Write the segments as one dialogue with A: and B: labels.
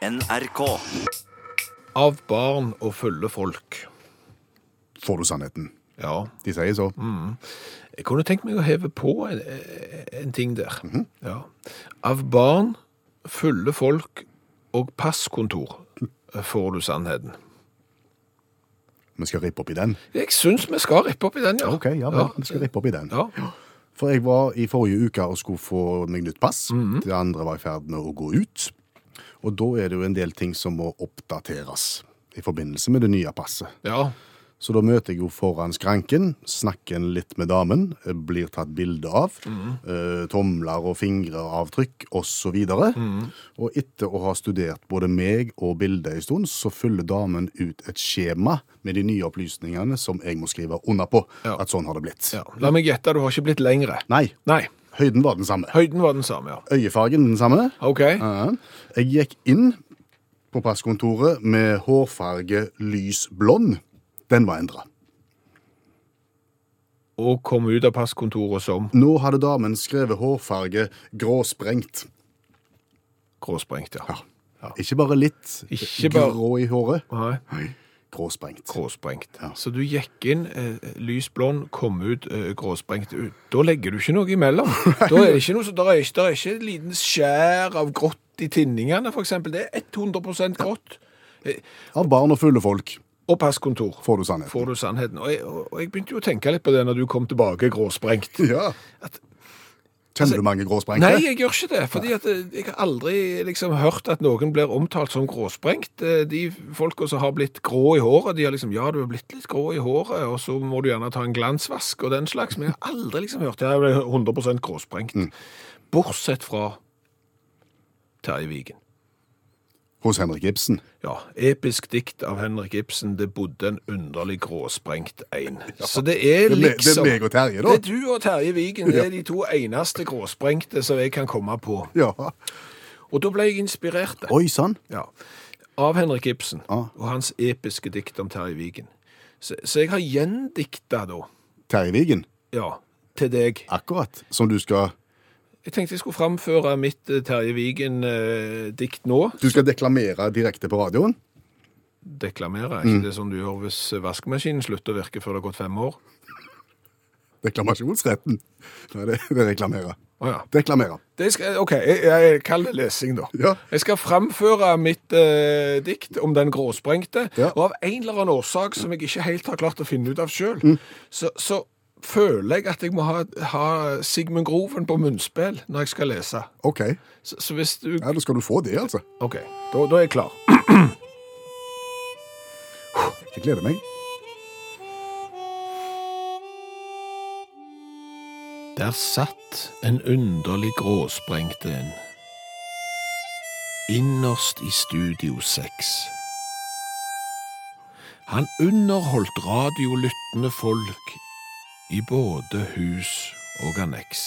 A: NRK.
B: Av barn og fulle folk.
C: Får du sannheten?
B: Ja.
C: De sier så.
B: Mm. Jeg kunne tenkt meg å heve på en, en ting der.
C: Mhm.
B: ja. Av barn, fulle folk og passkontor får du sannheten.
C: Vi skal rippe opp i den.
B: Jeg syns vi skal rippe opp i den, ja.
C: Ok, ja vel, vi skal rippe opp i den.
B: Ja.
C: For jeg var i forrige uke og skulle få meg nytt pass.
B: Mm.
C: Det andre var i ferd med å gå ut. Og da er det jo en del ting som må oppdateres i forbindelse med det nye passet.
B: ja.
C: Så da møter jeg jo foran skranken, snakker litt med damen, eh, blir tatt bilde av,
B: Mm.
C: eh, tomler og fingeravtrykk osv. videre.
B: Mm.
C: Og etter å ha studert både meg og bildet en stund, så fyller damen ut et skjema med de nye opplysningene som jeg må skrive under på
B: Ja.
C: at sånn har det blitt.
B: ja. La meg gjette, du har ikke blitt lengre.
C: Nei,
B: Nei.
C: høyden var den samme.
B: Høyden var den samme, ja.
C: Øyefargen den samme.
B: OK.
C: Ja. Jeg gikk inn på passkontoret med hårfarge lys blond. Den var endra.
B: Og kom ut av passkontoret som
C: Nå hadde damen skrevet hårfarge gråsprengt.
B: gråsprengt, ja.
C: Ikke bare litt
B: Ikke bare-
C: grå i håret.
B: Nei.
C: Gråsprengt.
B: Gråsprengt.
C: Ja.
B: Så du gikk inn eh, lys blond, kom ut eh, gråsprengt. ut. Da legger du ikke noe imellom. da er det ikke noe, så der er ikke, der er ikke et liten skjær av grått i tinningene, for eksempel. Det er 100 grått.
C: Av barn og fulle folk
B: Og passkontor.
C: får du sannheten.
B: Får du sannheten. Og jeg, og og jeg begynte jo å tenke litt på det når du kom tilbake gråsprengt.
C: Ja.
B: At- Altså,
C: Kjenner du mange gråsprengte?
B: Nei, jeg gjør ikke det. fordi at eh, jeg har aldri liksom hørt at noen blir omtalt som gråsprengt. Eh, De folka som har blitt grå i håret, de har liksom Ja, du er blitt litt grå i håret, og så må du gjerne ta en glansvask og den slags, men jeg har aldri liksom hørt Jeg ble 100 gråsprengt.
C: Mm.
B: Bortsett fra Terje Vigen.
C: Hos Henrik Ibsen.
B: Ja, episk dikt av Henrik Ibsen, 'Det bodde en underlig gråsprengt ein'. Så det er
C: Det er, me- det
B: liksom
C: er meg og Terje, da.
B: Det er du og Terje Vigen. Det er de to eneste gråsprengte som jeg kan komme på.
C: Ja.
B: Og da ble jeg inspirert
C: Oi sann.
B: ja, av Henrik Ibsen
C: Ah.
B: og hans episke dikt om Terje Vigen. Så, så jeg har gjendikta da,
C: Terje Vigen.
B: ja, til deg.
C: Akkurat. Som du skal
B: Jeg tenkte jeg skulle framføre mitt eh, Terje Vigen-dikt nå.
C: Du skal deklamere direkte på radioen?
B: Deklamere, er ikke det som du gjør hvis vaskemaskinen slutter å virke før det har gått fem år?
C: Deklamasjonsretten. Nei, det, det er reklamere.
B: Å ja.
C: Deklamere.
B: Det skal, OK, jeg, jeg kaller det lesing, da.
C: Ja.
B: Jeg skal framføre mitt eh, dikt om den gråsprengte.
C: Ja.
B: Og av en eller annen årsak som jeg ikke helt har klart å finne ut av sjøl,
C: Mm.
B: så, så føler jeg at jeg må ha, ha Sigmund Groven på munnspill når jeg skal lese.
C: OK.
B: Så, så hvis du
C: Ja, Da skal du få det, altså.
B: OK, da, da er jeg klar.
C: Jeg gleder meg.
B: Der satt en underlig gråsprengt en. Innerst i Studio 6. Han underholdt radiolyttende folk i både hus og anneks.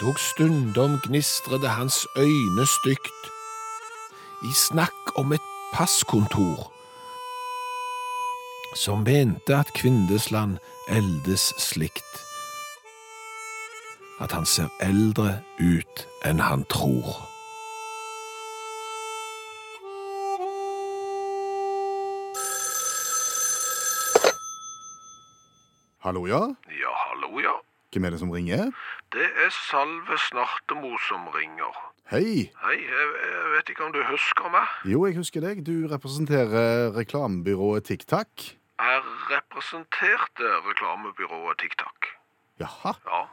B: Dog stundom gnistrede hans øyne stygt i snakk om et passkontor som mente at Kvindesland eldes slikt. At han ser eldre ut enn han tror.
C: Hallo, ja?
D: Ja, hallo, ja.
C: Hvem er det som ringer?
D: Det er Salve Snartemo som ringer.
C: Hei!
D: Hei, jeg, jeg vet ikke om du husker meg.
C: Jo, jeg husker deg. Du representerer reklamebyrået TikTak.
D: Jeg representerte reklamebyrået TikTok.
C: Jaha.
D: Ja.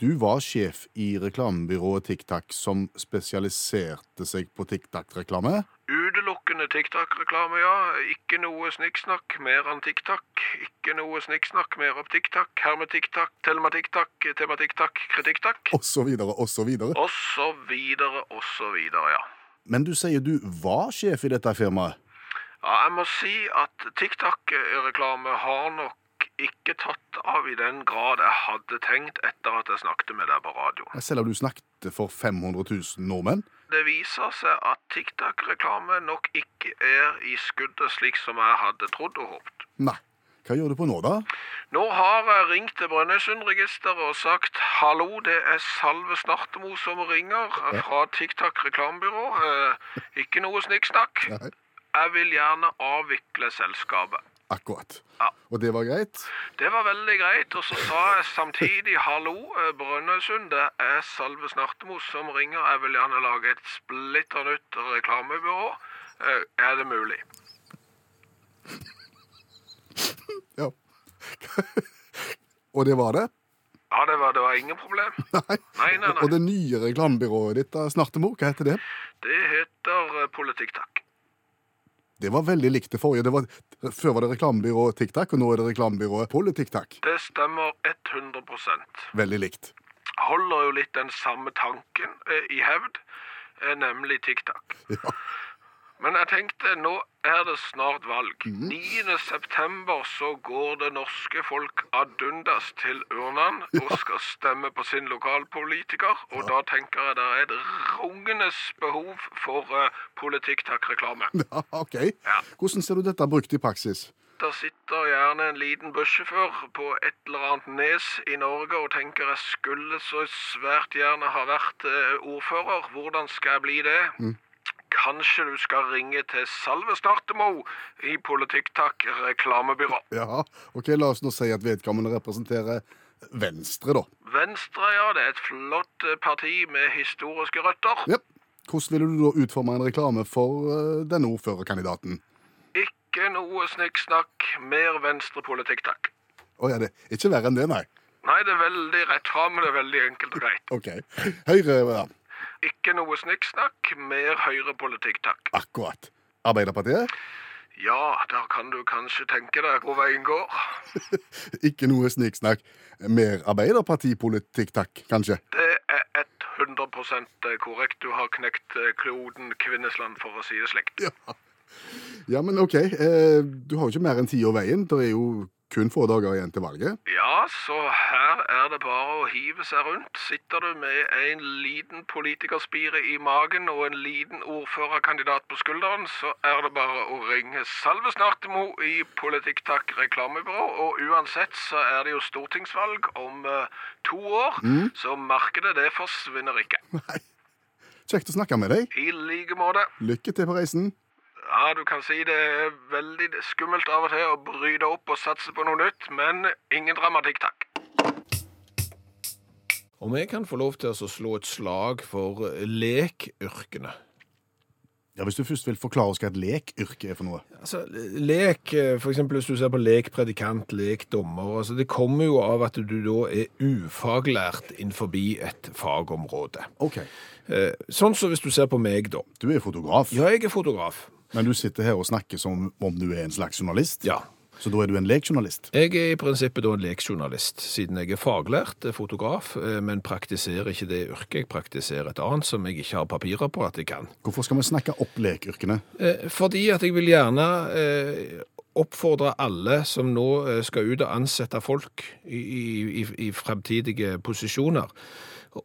C: Du var sjef i reklamebyrået TikTak, som spesialiserte seg på TikTak-reklame.
D: Utelukkende TikTok-reklame, ja. Ikke noe snikksnakk mer enn TikTok. Ikke noe snikksnakk mer om TikTok. Hermetikk-takk, telematikk-takk, tematikk-takk, kritikk-takk.
C: Og så videre, og så videre.
D: Og så videre, og så videre, ja.
C: Men du sier du var sjef i dette firmaet.
D: Ja, jeg må si at TikTok-reklame har nok ikke tatt av i den grad jeg hadde tenkt etter at jeg snakket med deg på radioen.
C: Selv om du snakket for 500 000 nordmenn.
D: Det viser seg at TikTok-reklame nok ikke er i skuddet slik som jeg hadde trodd og håpet.
C: Nei. Hva gjør du på nå, da?
D: Nå har jeg ringt til Brønnøysundregisteret og sagt hallo, det er Salve Snartemo som ringer eh, fra TikTok reklamebyrå. Eh, Ikke noe snikksnakk.
C: Nei.
D: Jeg vil gjerne avvikle selskapet.
C: Akkurat.
D: Ja.
C: Og det var greit?
D: Det var veldig greit, og så sa jeg samtidig hallo, eh, Brønnøysund, det er Salve Snartemo som ringer. Jeg vil gjerne lage et splitter nytt reklamebyrå. Eh, Er det mulig?
C: Ja. og det var det?
D: Ja, det var, det var ingen problem.
C: Nei.
D: Nei, nei, nei.
C: Og det nye reklamebyrået ditt, da, Snartemo, hva heter det?
D: Det heter eh, Politikk-takk.
C: Det var veldig likt det forrige. Det var, før var det reklamebyrået TikTak, og nå er det reklamebyrået Politiktak.
D: Det stemmer 100
C: Veldig likt.
D: holder jo litt den samme tanken eh, i hevd, eh, nemlig TikTok.
C: Ja.
D: Men jeg tenkte, nå er det snart valg.
C: Mhm.
D: 9. september så går det norske folk ad undas til urnene og skal stemme på sin lokalpolitiker, og da tenker jeg det er et rungenes behov for eh, politikk-takk-reklame.
C: Ja, OK. Hvordan ser du dette brukt i praksis?
D: Der sitter gjerne en liten bussjåfør på et eller annet nes i Norge og tenker jeg skulle så svært gjerne ha vært eh, ordfører. Hvordan skal jeg bli det? Kanskje du skal ringe til Salve Snartemo i Politikktakk reklamebyrå.
C: Ja, OK, la oss nå si at vedkommende representerer Venstre, da.
D: Venstre, ja, det er et flott eh, parti med historiske røtter.
C: Ja. Hvordan ville du da utforme en reklame for eh, denne ordførerkandidaten?
D: Ikke noe snikksnakk, mer Venstre-politikk-takk.
C: Å ja, det er ikke verre enn det, nei.
D: Nei, det er veldig rett fram, det er veldig enkelt og greit.
C: OK. Høyre, ja.
D: Ikke noe snikksnakk, mer Høyre-politikk-takk.
C: Akkurat. Arbeiderpartiet?
D: Ja, der kan du kanskje tenke deg hvor veien går.
C: Ikke noe sniksnakk. Mer arbeiderpartipolitikk, takk, kanskje.
D: Det er 100 korrekt. Du har knekt eh, kloden Kvinnesland, for å si det slikt.
C: Ja, men OK. Eh, du har jo ikke mer enn ti år veien. Det er jo kun få dager igjen til valget.
D: Ja, så her er det bare å hive seg rundt. Sitter du med en liten politikerspire i magen og en liten ordførerkandidat på skulderen, så er det bare å ringe Salve Snartemo i Politikktakk reklamebyrå. Og uansett så er det jo stortingsvalg om eh, to år, så markedet det forsvinner ikke.
C: Kjekt å snakke med deg.
D: I like måte.
C: Lykke til på reisen.
D: Ja, du kan si det er veldig skummelt av og til å bryte opp og satse på noe nytt, men ingen dramatikk, takk.
B: Og vi kan få lov til å slå et slag for eh, lekyrkene.
C: Ja, Hvis du først vil forklare oss hva et lekyrke er for noe.
B: Altså, lek, eh, for eksempel hvis du ser på lekpredikant, lekdommer, altså det kommer jo av at du da er ufaglært innenfor et fagområde.
C: Ok.
B: Eh, Sånn som hvis du ser på meg da.
C: Du er fotograf,
B: Ja, jeg er fotograf.
C: men du sitter her og snakker som om du er en slags journalist.
B: Ja.
C: Så da er du en lekjournalist.
B: Jeg er i prinsippet da en lekjournalist, siden jeg er faglært eh, fotograf, eh, men praktiserer ikke det yrket. Jeg praktiserer et annet som jeg ikke har papirer på at jeg kan.
C: Hvorfor skal vi snakke opp lekyrkene?
B: Eh, Fordi at jeg vil gjerne eh, oppfordre alle som nå eh, skal ut og ansette folk i, i, i- i fremtidige posisjoner,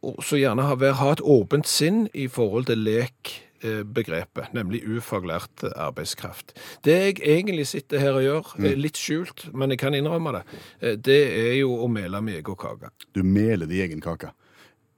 B: og så gjerne ha, være- ha et åpent sinn i forhold til lek eh, begrepet, nemlig ufaglært arbeidskraft. Det jeg egentlig sitter her og gjør, eh, litt skjult, men jeg kan innrømme det, eh, det er jo å mele med egen kake.
C: Du meler din egen kake.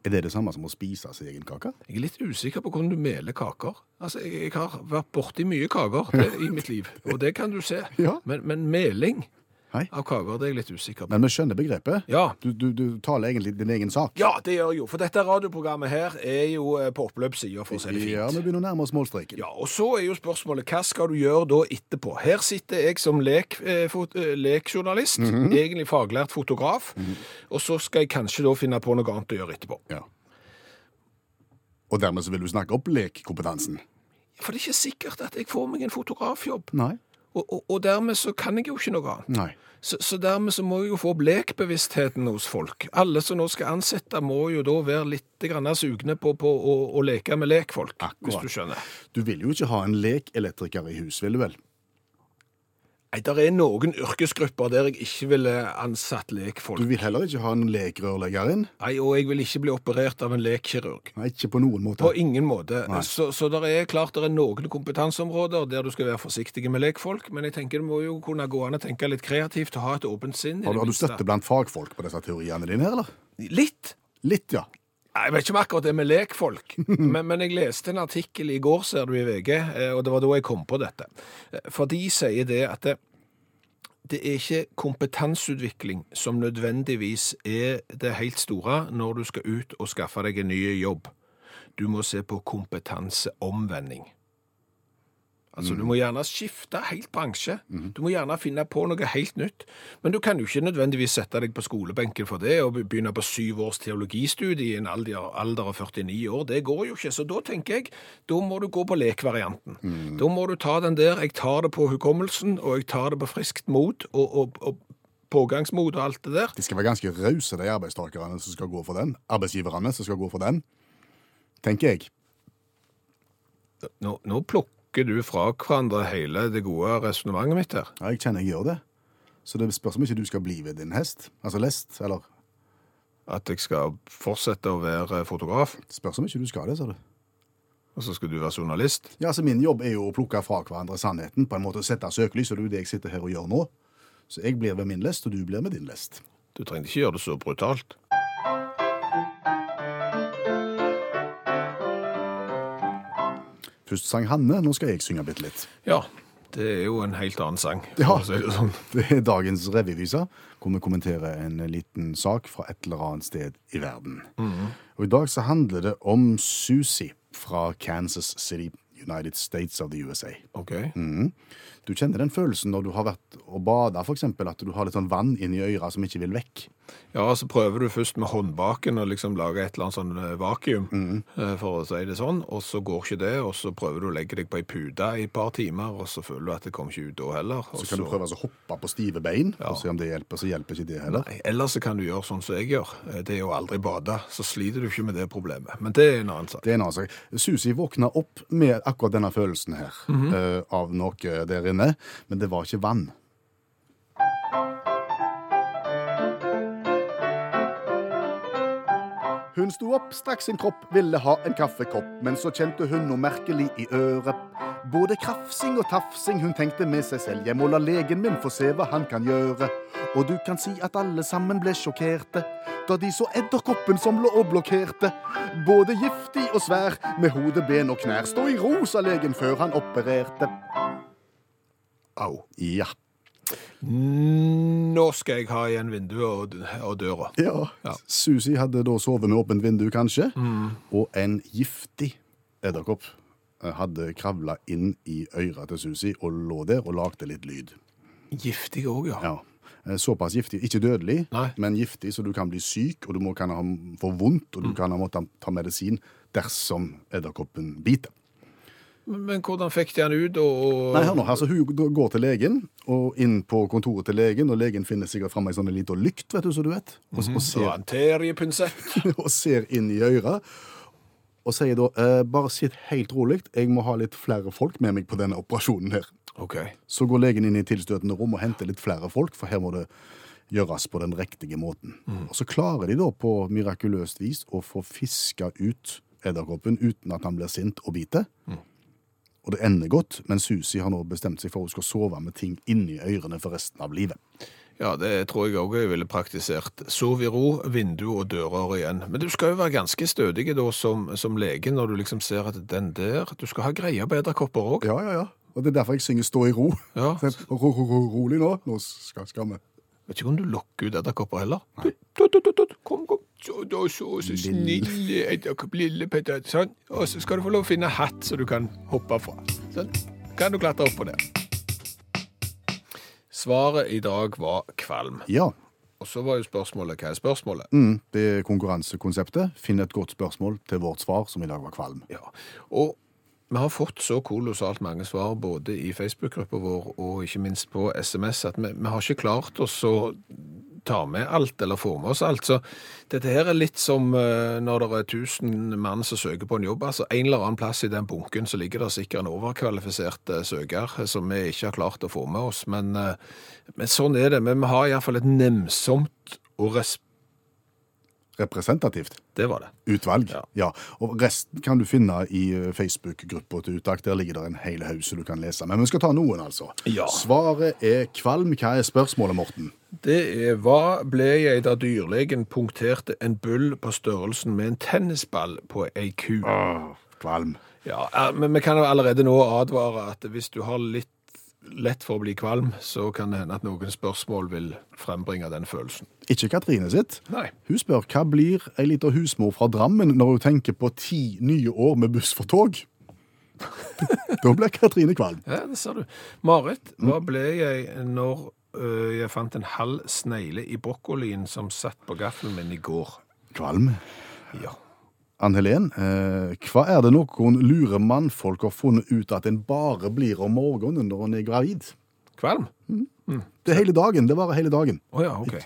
C: Er det det samme som å spise sin egen kake?
B: Jeg er litt usikker på hvordan du meler kaker. Altså, jeg, jeg har vært borti mye kaker det, i mitt liv, og det kan du se.
C: Ja.
B: Men, men meling
C: Hei.
B: av kaker, det er jeg litt usikker på.
C: Men vi skjønner begrepet.
B: Ja.
C: Du, du, du taler egentlig din egen sak.
B: ja, det gjør jeg jo. For dette radioprogrammet her er jo eh, på oppløpssida, for å si det
C: Ja,
B: fint.
C: vi begynner å nærme oss målstreken.
B: Ja, og så er jo spørsmålet, hva skal du gjøre da etterpå? Her sitter jeg som lek, eh, fot, eh, lekjournalist,
C: Mhm.
B: egentlig faglært fotograf, og så skal jeg kanskje da finne på noe annet å gjøre etterpå.
C: Ja. Og dermed så vil du snakke opp lekkompetansen?
B: For det er ikke sikkert at jeg får meg en fotografjobb,
C: Nei.
B: og, og, og dermed så kan jeg jo ikke noe annet.
C: Nei.
B: Så, så dermed så må jeg jo få opp lekbevisstheten hos folk. Alle som nå skal ansette, må jo da være litt grann sugne på, på å, å leke med lekfolk, hvis du skjønner.
C: Du vil jo ikke ha en lekelektriker i hus, vil du vel?
B: Nei, det er noen yrkesgrupper der jeg ikke ville ansatt
C: Du
B: lekfolk.
C: vil heller ikke ha en lekrørlegger inn?
B: Nei, og jeg vil ikke bli operert av en lekkirurg.
C: Nei, ikke på noen måte.
B: På ingen måte. Så, så det er klart det er noen kompetanseområder der du skal være forsiktig med lekfolk, men jeg tenker det må jo kunne gå an å tenke litt kreativt og ha et åpent sinn. i
C: Har du,
B: det
C: har du
B: minste.
C: støtte blant fagfolk på disse teoriene dine, eller?
B: Litt.
C: Litt, ja.
B: Nei, Jeg vet ikke om akkurat det med lekfolk, men, men jeg leste en artikkel i går, ser du, i VG, eh, og det var da jeg kom på dette. Eh, For de sier det at det, det er ikke kompetanseutvikling som nødvendigvis er det helt store når du skal ut og skaffe deg en ny jobb. Du må se på kompetanseomvending. Altså, Du må gjerne skifte helt bransje. Du må gjerne finne på noe helt nytt. Men du kan jo ikke nødvendigvis sette deg på skolebenken for det og begynne på syv års teologistudie i en alder, alder av 49 år. Det går jo ikke. Så da tenker jeg da må du gå på lekvarianten. Da må du ta den der 'jeg tar det på hukommelsen', og 'jeg tar det på friskt mot', og, og, og pågangsmot og alt det der.
C: De skal være ganske rause, de arbeidstakerne som skal gå for den. Arbeidsgiverne som skal gå for den. Tenker jeg.
B: Nå, nå plukker du fra hverandre hele det gode resonnementet mitt her.
C: Ja, jeg kjenner jeg gjør det. Så det spørs om ikke du skal bli ved din hest. Altså lest, eller
B: At jeg skal fortsette å være fotograf,
C: spørs om ikke du skal det, sa du.
B: og så skal du være journalist.
C: Ja, altså Min jobb er jo å plukke fra hverandre sannheten, på en måte sette søkelys, og det er jo det jeg sitter her og gjør nå. Så jeg blir ved min lest, og du blir med din lest.
B: Du trengte ikke gjøre det så brutalt.
C: Først sang Hanne, nå skal jeg synge bitte litt.
B: Ja, det er jo en helt annen sang. for
C: Ja.
B: å si det sånn.
C: Det er dagens revyvise, hvor vi kommenterer en liten sak fra et eller annet sted i verden.
B: Mhm.
C: Og I dag så handler det om Susie fra Kansas City, United States of the USA.
B: Ok.
C: Mm. Du kjenner den følelsen når du har vært og bada, f.eks., at du har litt sånn vann inni øra som ikke vil vekk.
B: Ja, så prøver du først med håndbaken å liksom lage et eller annet sånn eh, vakuum,
C: Mm.
B: eh, for å si det sånn, og så går ikke det, og så prøver du å legge deg på ei pute i et par timer, og så føler du at det kom ikke ut da heller. og
C: Så kan du prøve altså å hoppe på stive bein
B: Ja.
C: og se om det hjelper. Så hjelper ikke det heller.
B: Nei, Eller så kan du gjøre sånn som jeg gjør, eh, det er å aldri bade, så sliter du ikke med det problemet. Men det er en annen sak.
C: Altså, Det er en annen sak. Susi våkna opp med akkurat denne følelsen her, eh, av noe der inne, men det var ikke vann. Hun sto opp, straks sin kropp ville ha en kaffekopp, men så kjente hun noe merkelig i øret. Både krafsing og tafsing, hun tenkte med seg selv, jeg må la legen min få se hva han kan gjøre. Og du kan si at alle sammen ble sjokkerte da de så edderkoppen som lå og blokkerte. Både giftig og svær, med hode, ben og knær. Stå i ro, sa legen før han opererte.
B: Au.
C: Ja.
B: Nå skal jeg ha igjen vinduet og, og døra.
C: Ja.
B: Ja. Mm.
C: Susi hadde da sovet med åpent vindu, kanskje. Og en giftig edderkopp eh, hadde kravla inn i øra til Susi og lå der og lagde litt lyd.
B: Giftig òg, ja.
C: Ja. Eh, Såpass giftig. Ikke dødelig,
B: Nei.
C: men giftig, så du kan bli syk, og du må, kan ha, få vondt,
B: Mm.
C: og du kan ha måttet ta medisin dersom edderkoppen biter.
B: Men, men hvordan fikk de han ut, og, og
C: Nei, hør nå, altså Hun g- går til legen, og inn på kontoret til legen, og legen finner sikkert fram ei sånn lita lykt, vet du, så du vet, og, og,
B: Det var
C: ser,
B: en terriepinsett.
C: og ser inn i øret. Og sier da eh, bare sitt helt rolig, jeg må ha litt flere folk med meg på denne operasjonen her.
B: Ok.
C: Så går legen inn i tilstøtende rom og henter litt flere folk, for her må det gjøres på den riktige måten. Og så klarer de da på mirakuløst vis å få fiska ut edderkoppen uten at han blir sint og biter. Og det ender godt, men Susi har nå bestemt seg for at hun skal sove med ting inni ørene for resten av livet.
B: Ja, det tror jeg òg jeg ville praktisert. Sov i ro, vindu og dører igjen. Men du skal jo være ganske stødig da som, som lege når du liksom ser at den der Du skal ha greie på edderkopper òg.
C: Ja, ja, ja. Og det er derfor jeg synger 'Stå i ro'.
B: Ja.
C: Så jeg- ro, ro, ro, rolig nå. Nå skal, skal vi
B: Vet ikke om du lokker ut edderkopper heller. Tut, tut, tut, tut. Kom, kom. Så, da, så, så snille edderkopp, lille Petter. Sånn. Og så skal du få lov å finne hatt så du kan hoppe fra. Sånn. Kan du klatre opp på det. Svaret i dag var kvalm.
C: Ja.
B: Og så var jo spørsmålet hva er spørsmålet?
C: Mm, det er konkurransekonseptet. Finn et godt spørsmål til vårt svar, som i dag var kvalm.
B: Ja, og vi har fått så kolossalt mange svar både i Facebook-gruppa vår og ikke minst på SMS at vi, vi har ikke klart oss å tar med alt, eller får med oss alt. Så dette her er litt som eh, når det er 1000 mann som søker på en jobb. Altså en eller annen plass i den bunken så ligger det sikkert en overkvalifisert eh, søker eh, som vi ikke har klart å få med oss. Men, eh, men sånn er det. Men vi har iallfall et nemsomt og res...
C: Representativt
B: Det var det.
C: utvalg.
B: Ja.
C: Ja. Og resten kan du finne i eh, Facebook-gruppa til Utakt. Der ligger det en hel haug som du kan lese. Men vi skal ta noen, altså.
B: Ja.
C: Svaret er kvalm. Hva er spørsmålet, Morten?
B: Det er hva ble jeg da dyrlegen punkterte en bull på størrelsen med en tennisball på ei ku?
C: Kvalm.
B: Ja, eh, men vi kan jo allerede nå advare at hvis du har litt lett for å bli kvalm, så kan det hende at noen spørsmål vil frembringe den følelsen.
C: Ikke Katrine sitt.
B: Nei.
C: Hun spør hva blir ei lita husmor fra Drammen når hun tenker på ti nye år med buss for tog? da blir Katrine kvalm.
B: Ja, det ser du. Marit, hva ble jeg når ø, jeg fant en halv snegle i brokkolien som satt på gaffelen min i går?
C: Kvalm.
B: Ja.
C: Ann Helen, eh, hva er det noen lure mannfolk har funnet ut at en bare blir om morgenen når en er gravid?
B: Kvalm?
C: Det er hele dagen. Det varer hele dagen.
B: Å ja, OK.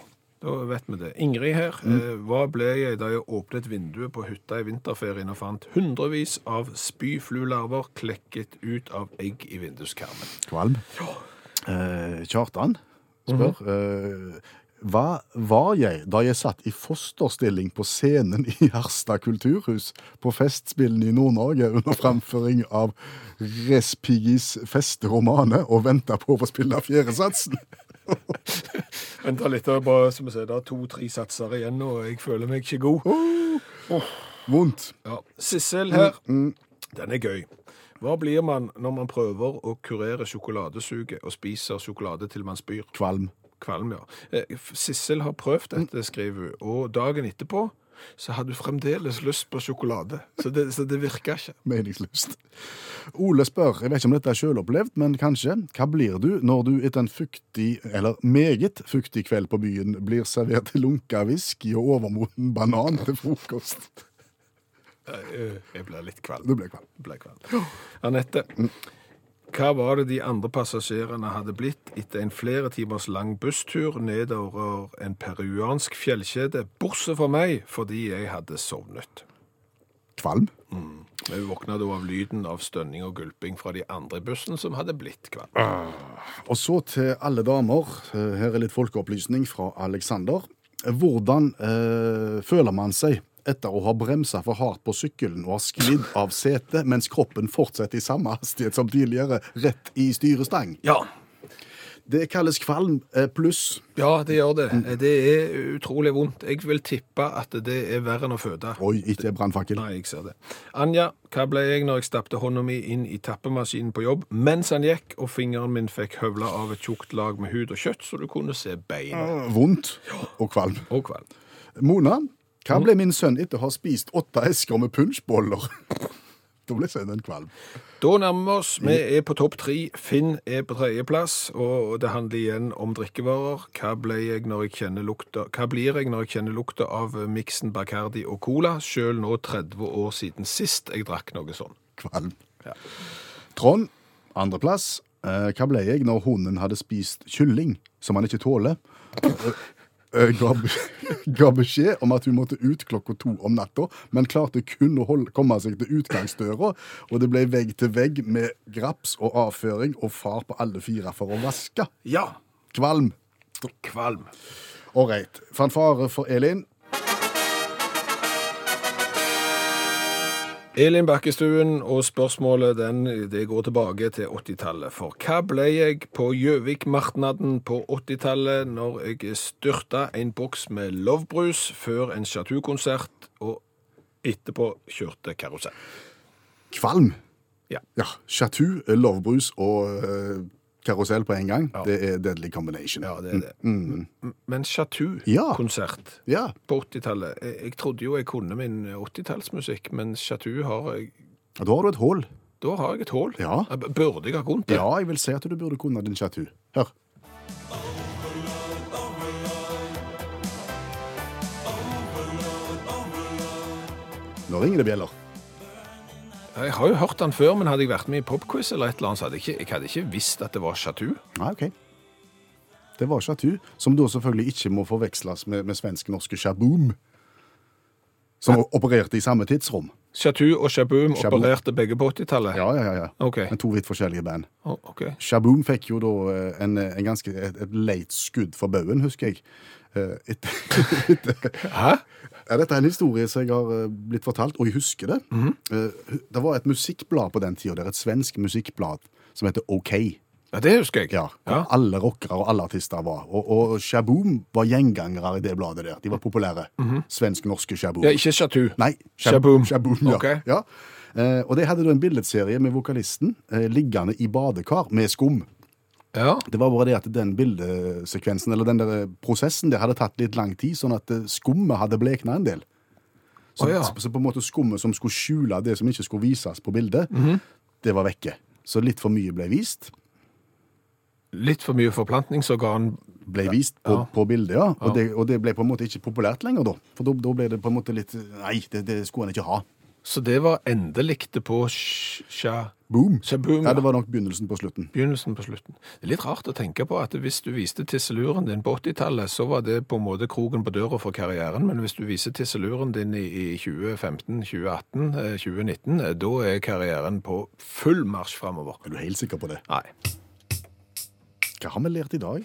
B: Da vet vi det. Ingrid her. eh, Hva ble jeg da jeg åpnet vinduet på hytta i vinterferien og fant hundrevis av spyflularver klekket ut av egg i vinduskarmen?
C: Kvalm. Eh, Kjartan spør eh, Hva var jeg da jeg satt i fosterstilling på scenen i Harstad kulturhus på Festspillene i Nord-Norge under framføring av Respigis festeromane og venta på å få spille fjerdesatsen?
B: Vent litt, det er bare som jeg sier, det er to-tre satser igjen, og jeg føler meg ikke god.
C: Vondt.
B: Ja. Sissel her. Den er gøy. Hva blir man når man prøver å kurere sjokoladesuget og spiser sjokolade til man spyr?
C: Kvalm.
B: Kvalm, ja. Eh, f- Sissel har prøvd dette, skriver hun, og dagen etterpå så hadde hun fremdeles lyst på sjokolade. Så det, så det virka ikke.
C: Meningsløst. Ole spør, jeg vet ikke om dette er selvopplevd, men kanskje, hva blir du når du etter en fuktig, eller meget fuktig kveld på byen blir servert lunka whisky og overmoden banan til frokost?
B: Eh, Jeg ble litt kvalm.
C: Du ble kvalm.
B: ble kvalm. Anette, hva var det de andre passasjerene hadde blitt etter en flere timers lang busstur nedover en peruansk fjellkjede, bortsett fra meg, fordi jeg hadde sovnet?
C: Kvalm?
B: Vi våkna da av lyden av stønning og gulping fra de andre i bussen som hadde blitt kvalm.
C: Og så til alle damer, Eh, her er litt folkeopplysning fra Alexander. Hvordan eh, føler man seg etter å ha bremsa for hardt på sykkelen og har sklidd av setet, mens kroppen fortsetter i samme hastighet som tidligere, rett i styrestang?
B: Ja,
C: Det kalles kvalm eh, pluss
B: ja, det gjør det. Det er utrolig vondt. Jeg vil tippe at det er verre enn å føde.
C: Oi, ikke brannfakkel.
B: Nei, jeg ser det. Anja, hva ble jeg når jeg stappte hånda mi inn i tappemaskinen på jobb mens han gikk, og fingeren min fikk høvla av et tjukt lag med hud og kjøtt, så du kunne se bein
C: Ah, Vondt og kvalm.
B: og kvalm?
C: Mona, hva ble min sønn etter å ha spist åtte esker med punsjboller? Da ble sønnen kvalm.
B: Da nærmer vi oss. Vi er på topp tre. Finn er på tredjeplass, og det handler igjen om drikkevarer. Hva, ble jeg når jeg kjenner lukta, hva blir jeg når jeg kjenner lukta av miksen Bacardi og Cola, sjøl nå 30 år siden sist jeg drakk noe sånn?
C: Kvalm.
B: Ja.
C: Trond, andreplass. Eh, hva ble jeg når hunden hadde spist kylling som han ikke tåler? Eh, eh, Ga, ga beskjed om at hun måtte ut klokka to om natta, men klarte kun å holde, komme seg til utgangsdøra. Og det ble vegg til vegg med graps og avføring og far på alle fire for å vaske.
B: Ja.
C: Kvalm.
B: Kvalm.
C: Ålreit. Fanfare for Elin.
B: Elin Bakkestuen, og spørsmålet den, det går tilbake til 80-tallet. For hva ble jeg på Gjøvik-martnaden på 80-tallet når jeg styrta en boks med lovbrus før en Chatou-konsert, og etterpå kjørte karusell?
C: Kvalm.
B: Ja.
C: ja. Chatou, lovbrus og eh, karusell på en gang.
B: Ja.
C: Det er deadly combination.
B: Ja, det er det. M- Men Chatou-konsert
C: Ja.
B: på 80-tallet jeg, jeg trodde jo jeg kunne min 80-tallsmusikk, men Chatou har jeg
C: Og Da har du et hull.
B: Da har jeg et hull.
C: Ja.
B: Jeg b- Burde jeg ha kunnet det?
C: Ja, jeg vil si at du burde kunne din chatou. Hør. Nå ringer det bjeller.
B: Jeg har jo hørt den før, men hadde jeg vært med i popquiz eller et eller annet, så hadde jeg ikke, jeg hadde ikke visst at det var Chatou.
C: Ja, ok. Ah, Det var Chatou, som da selvfølgelig ikke må forveksles med, med svensk-norske Shaboom, som opererte i samme tidsrom.
B: Chatou og Shaboom
C: Shaboom.
B: opererte begge på 80-tallet?
C: Ja, ja, ja. ja.
B: Ok.
C: Men to vidt forskjellige band.
B: Å, ok.
C: Shaboom fikk jo da eh, en, en ganske, et, et leit skudd for baugen, husker jeg. Eh, Etter, etter,
B: Hæ?
C: ja, dette er en historie som jeg har eh, blitt fortalt, og jeg husker det.
B: Mhm.
C: Eh, Det var et musikkblad på den tida, der, et svensk musikkblad som heter OK.
B: Ja, det husker jeg.
C: Ja, hvor alle rockere og alle artister var. Og, og Shaboom var gjengangere i det bladet der. De var populære. Svensk-norske Shaboom.
B: Mhm. Ja, ikke Chatou.
C: Nei, Shab-
B: Shaboom.
C: Shaboom ja.
B: Ok.
C: ja. Eh, og de hadde da en billedserie med vokalisten eh, liggende i badekar med skum.
B: Ja.
C: Det var bare det at den bildesekvensen, eller den der prosessen, det hadde tatt litt lang tid, sånn at eh, skummet hadde blekna en del. Så,
B: Å, ja.
C: så, så på en måte skummet som skulle skjule det som ikke skulle vises på bildet, det var vekke. Så litt for mye ble vist.
B: Litt for mye forplantningsorgan.
C: ble vist på, på bildet, ja. Og, Det, og det ble på en måte ikke populært lenger da. For da, da ble det på en måte litt Nei, det, det skulle han ikke ha.
B: Så det var endeliktet på sh- sha-
C: Boom.
B: Shaboom.
C: Ja, det var nok begynnelsen på slutten.
B: Begynnelsen på slutten. Det er litt rart å tenke på at hvis du viste tisseluren din på 80-tallet, så var det på en måte kroken på døra for karrieren, men hvis du viser tisseluren din i i 2015, 2018, eh, 2019, eh, da er karrieren på full marsj framover.
C: Er du helt sikker på det?
B: Nei.
C: Hva har vi lært i dag?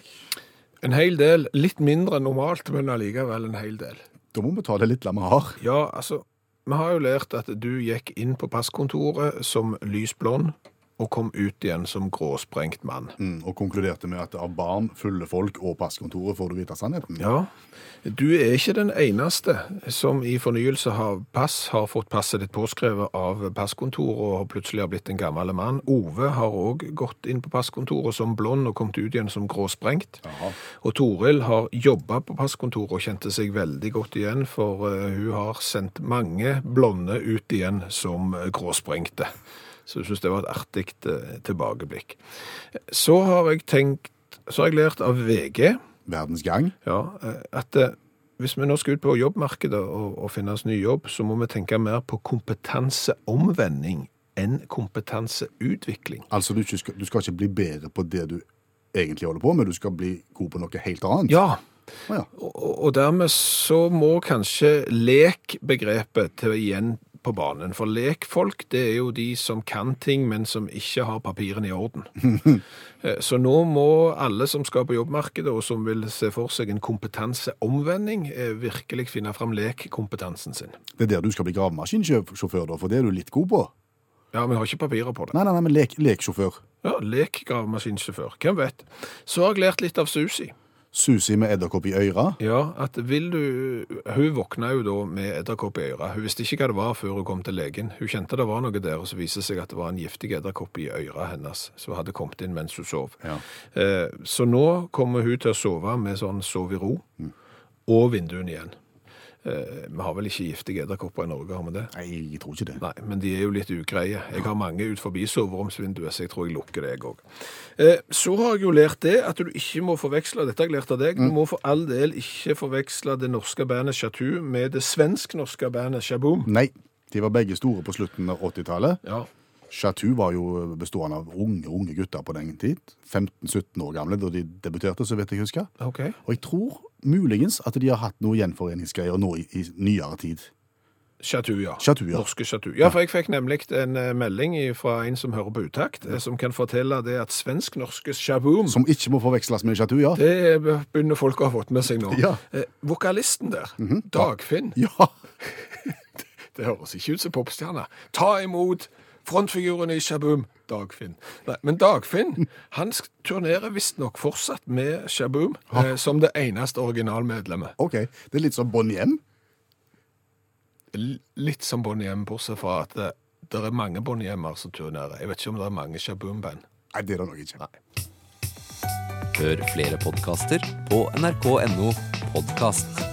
B: En hel del, litt mindre enn normalt, men allikevel en hel del.
C: Da må vi ta det lille vi har.
B: Ja, altså, vi har jo lært at du gikk inn på passkontoret som lysblond, og kom ut igjen som gråsprengt mann.
C: Mm, og konkluderte med at av barn, fulle folk og passkontoret får du vite sannheten.
B: Ja, du er ikke den eneste som i fornyelse av pass har fått passet ditt påskrevet av passkontoret og plutselig har blitt en gammel mann. Ove har òg gått inn på passkontoret som blond og kommet ut igjen som gråsprengt.
C: Jaha.
B: Og Toril har jobba på passkontoret og kjente seg veldig godt igjen, for eh, hun har sendt mange blonde ut igjen som eh, gråsprengte. Så jeg syns det var et artig eh, tilbakeblikk. Så har jeg tenkt Så har jeg lært av VG
C: Verdens gang.
B: ja, eh, at eh, hvis vi nå skal ut på jobbmarkedet og, og finne oss ny jobb, så må vi tenke mer på kompetanseomvending enn kompetanseutvikling.
C: Altså, du ikke skal, du skal ikke bli bedre på det du egentlig holder på med, du skal bli god på noe helt annet.
B: Ja,
C: Å, ja.
B: og, og dermed så må kanskje lek-begrepet til igjen på banen. For lekfolk, det er jo de som kan ting, men som ikke har papirene i orden. Eh, Så nå må alle som skal på jobbmarkedet, og som vil se for seg en kompetanseomvending, eh, virkelig finne fram lekkompetansen sin.
C: Det er der du skal bli gravemaskinsjåfør, da, for det er du litt god på.
B: Ja, vi har ikke papirer på det.
C: Nei, nei, nei, men lek, leksjåfør.
B: Ja, lek gravemaskinsjåfør. Hvem vet? Så har jeg lært litt av Susi.
C: Susi med edderkopp i øyra.
B: Ja, at vil du Hun våkna jo da med edderkopp i øret. Hun visste ikke hva det var før hun kom til legen. Hun kjente det var noe der, og så viste det seg at det var en giftig edderkopp i øret hennes som hadde kommet inn mens hun sov.
C: Ja.
B: Eh, så nå kommer hun til å sove med sånn sov i ro, og vinduene igjen. Eh, vi har vel ikke giftige edderkopper i Norge, har vi det?
C: Nei, jeg tror ikke det.
B: Nei, men de er jo litt ugreie. Jeg har mange ut forbi soveromsvinduet, så jeg tror jeg lukker det, jeg òg. Eh, så har jeg jo lært det at du ikke må forveksle Dette har jeg lært av deg.
C: Mm.
B: Du må for all del ikke forveksle det norske bandet Chatou med det svensk-norske bandet Shaboom.
C: Nei, de var begge store på slutten av 80-tallet.
B: Ja.
C: Chatou var jo bestående av unge, unge gutter på den tid. 15-17 år gamle da de debuterte, så vidt jeg husker.
B: OK.
C: Og jeg tror muligens at de har hatt noe gjenforeningsgreier nå i, i nyere tid.
B: Chatou, ja.
C: Chatou, ja.
B: Norske Chatou. Ja, for jeg fikk nemlig en eh, melding fra en som hører på utakt, eh, som kan fortelle det at svensk-norske Shaboom
C: Som ikke må forveksles med Chatou, ja.
B: det begynner folk å ha fått med seg nå.
C: Ja. Mhm.
B: Eh, vokalisten der, Dagfinn,
C: Ja,
B: Det høres ikke ut som popstjerne. Ta imot frontfiguren i Shaboom, Dagfinn. Nei, men Dagfinn han sk- turnerer visstnok fortsatt med Shaboom eh, som det eneste originalmedlemmet.
C: ok. Det er litt som Bonhjem.
B: L litt som Bonnie M, bortsett fra at det, det er mange Bonnie M-er som turnerer. Jeg vet ikke om det er mange Shaboom-band.
C: Nei, det er det nok ikke.
A: Hør flere podkaster på nrk.no podkast.